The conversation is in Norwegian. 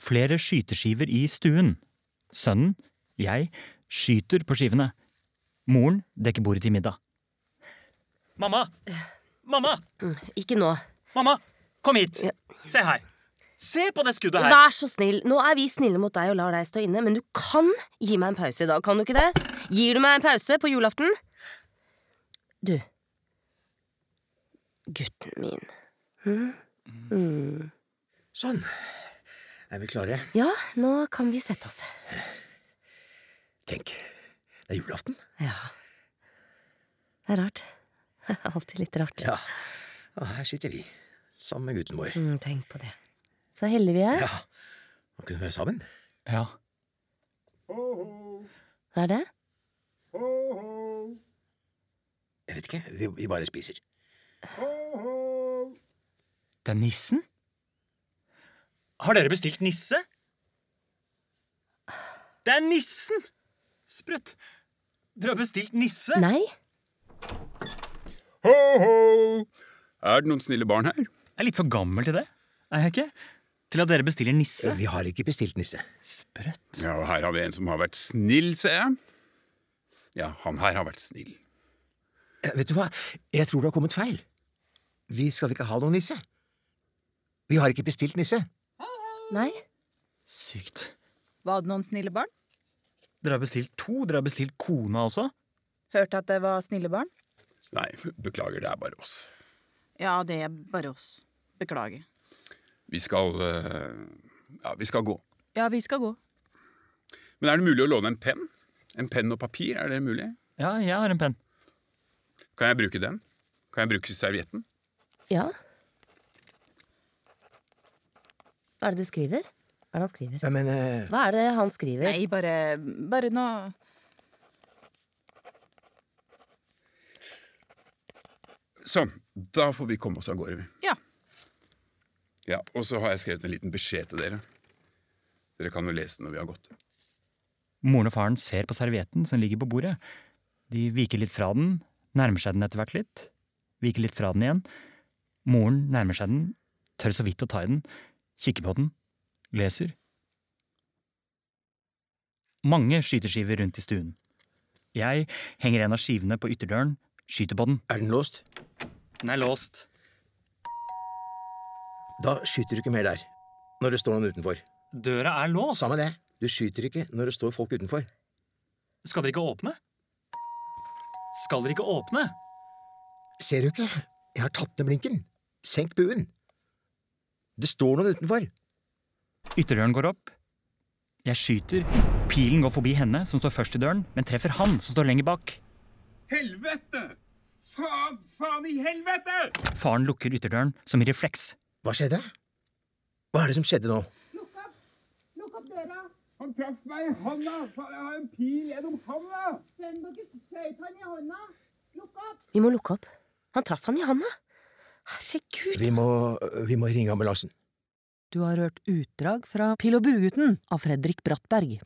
flere skyteskiver i stuen. Sønnen, jeg, skyter på skivene. Moren dekker bordet til middag. Mamma! Mamma! Ikke nå. Mamma! Kom hit! Se her! Se på det skuddet her! Vær så snill. Nå er vi snille mot deg og lar deg stå inne, men du kan gi meg en pause i dag, kan du ikke det? Gir du meg en pause på julaften? Du Gutten min. Sånn. Er vi klare? Ja, nå kan vi sette oss. Tenk, det er julaften. Ja. Det er rart. Alltid litt rart. Ja. Og her sitter vi, sammen med gutten vår. Mm, tenk på det. Så heldige vi er. Ja. Man kunne være sammen. Ja, Hva er det? Jeg vet ikke, vi, vi bare spiser. det er nissen. Har dere bestilt nisse? Det er nissen! Sprøtt. Dere har bestilt nisse? Nei? Ho, ho! Er det noen snille barn her? Jeg er litt for gammel til det. Er jeg ikke? Til at dere bestiller nisse? Vi har ikke bestilt nisse. Sprøtt. Ja, og her har vi en som har vært snill, ser jeg. Ja, han her har vært snill. Eh, Vet du hva, jeg tror det har kommet feil. Vi skal ikke ha noen nisse. Vi har ikke bestilt nisse. Nei? Sykt. Var det noen snille barn? Dere har bestilt to. Dere har bestilt kona også. Hørte at det var snille barn? Nei, beklager, det er bare oss. Ja, det er bare oss. Beklager. Vi skal eh, Ja, vi skal gå. Ja, vi skal gå. Men er det mulig å låne en penn? En penn og papir, er det mulig? Ja, jeg har en penn. Kan jeg bruke den? Kan jeg bruke servietten? Ja? Hva er det du skriver? Hva er det han skriver? Nei, men eh, Hva er det han skriver? Nei, bare, bare noe Sånn. Da får vi komme oss av gårde. vi. Ja. Ja, Og så har jeg skrevet en liten beskjed til dere. Dere kan jo lese den når vi har gått. Moren og faren ser på servietten som ligger på bordet. De viker litt fra den, nærmer seg den etter hvert litt, viker litt fra den igjen. Moren nærmer seg den, tør så vidt å ta i den, kikker på den, leser. Mange skyteskiver rundt i stuen. Jeg henger en av skivene på ytterdøren, skyter på den. er den låst? Den er låst. Da skyter du ikke mer der. Når det står noen utenfor. Døra er låst. Samme det. Du skyter ikke når det står folk utenfor. Skal dere ikke åpne? Skal dere ikke åpne? Ser du ikke? Jeg har tatt ned blinken. Senk buen. Det står noen utenfor. Ytterdøren går opp. Jeg skyter. Pilen går forbi henne, som står først i døren, men treffer han, som står lenger bak. Helvete! Faen, faen i helvete! Faren lukker ytterdøren som i refleks. Hva skjedde? Hva er det som skjedde nå? Lukk opp døra! Han traff meg i hånda! Faen, jeg har en pil gjennom hånda! Send dere skøytene i hånda! Lukk opp! Vi må lukke opp. Han traff han i handa. Herregud. Vi må, vi må ringe ambulansen. Du har hørt utdrag fra Pil og bue-gutten av Fredrik Brattberg.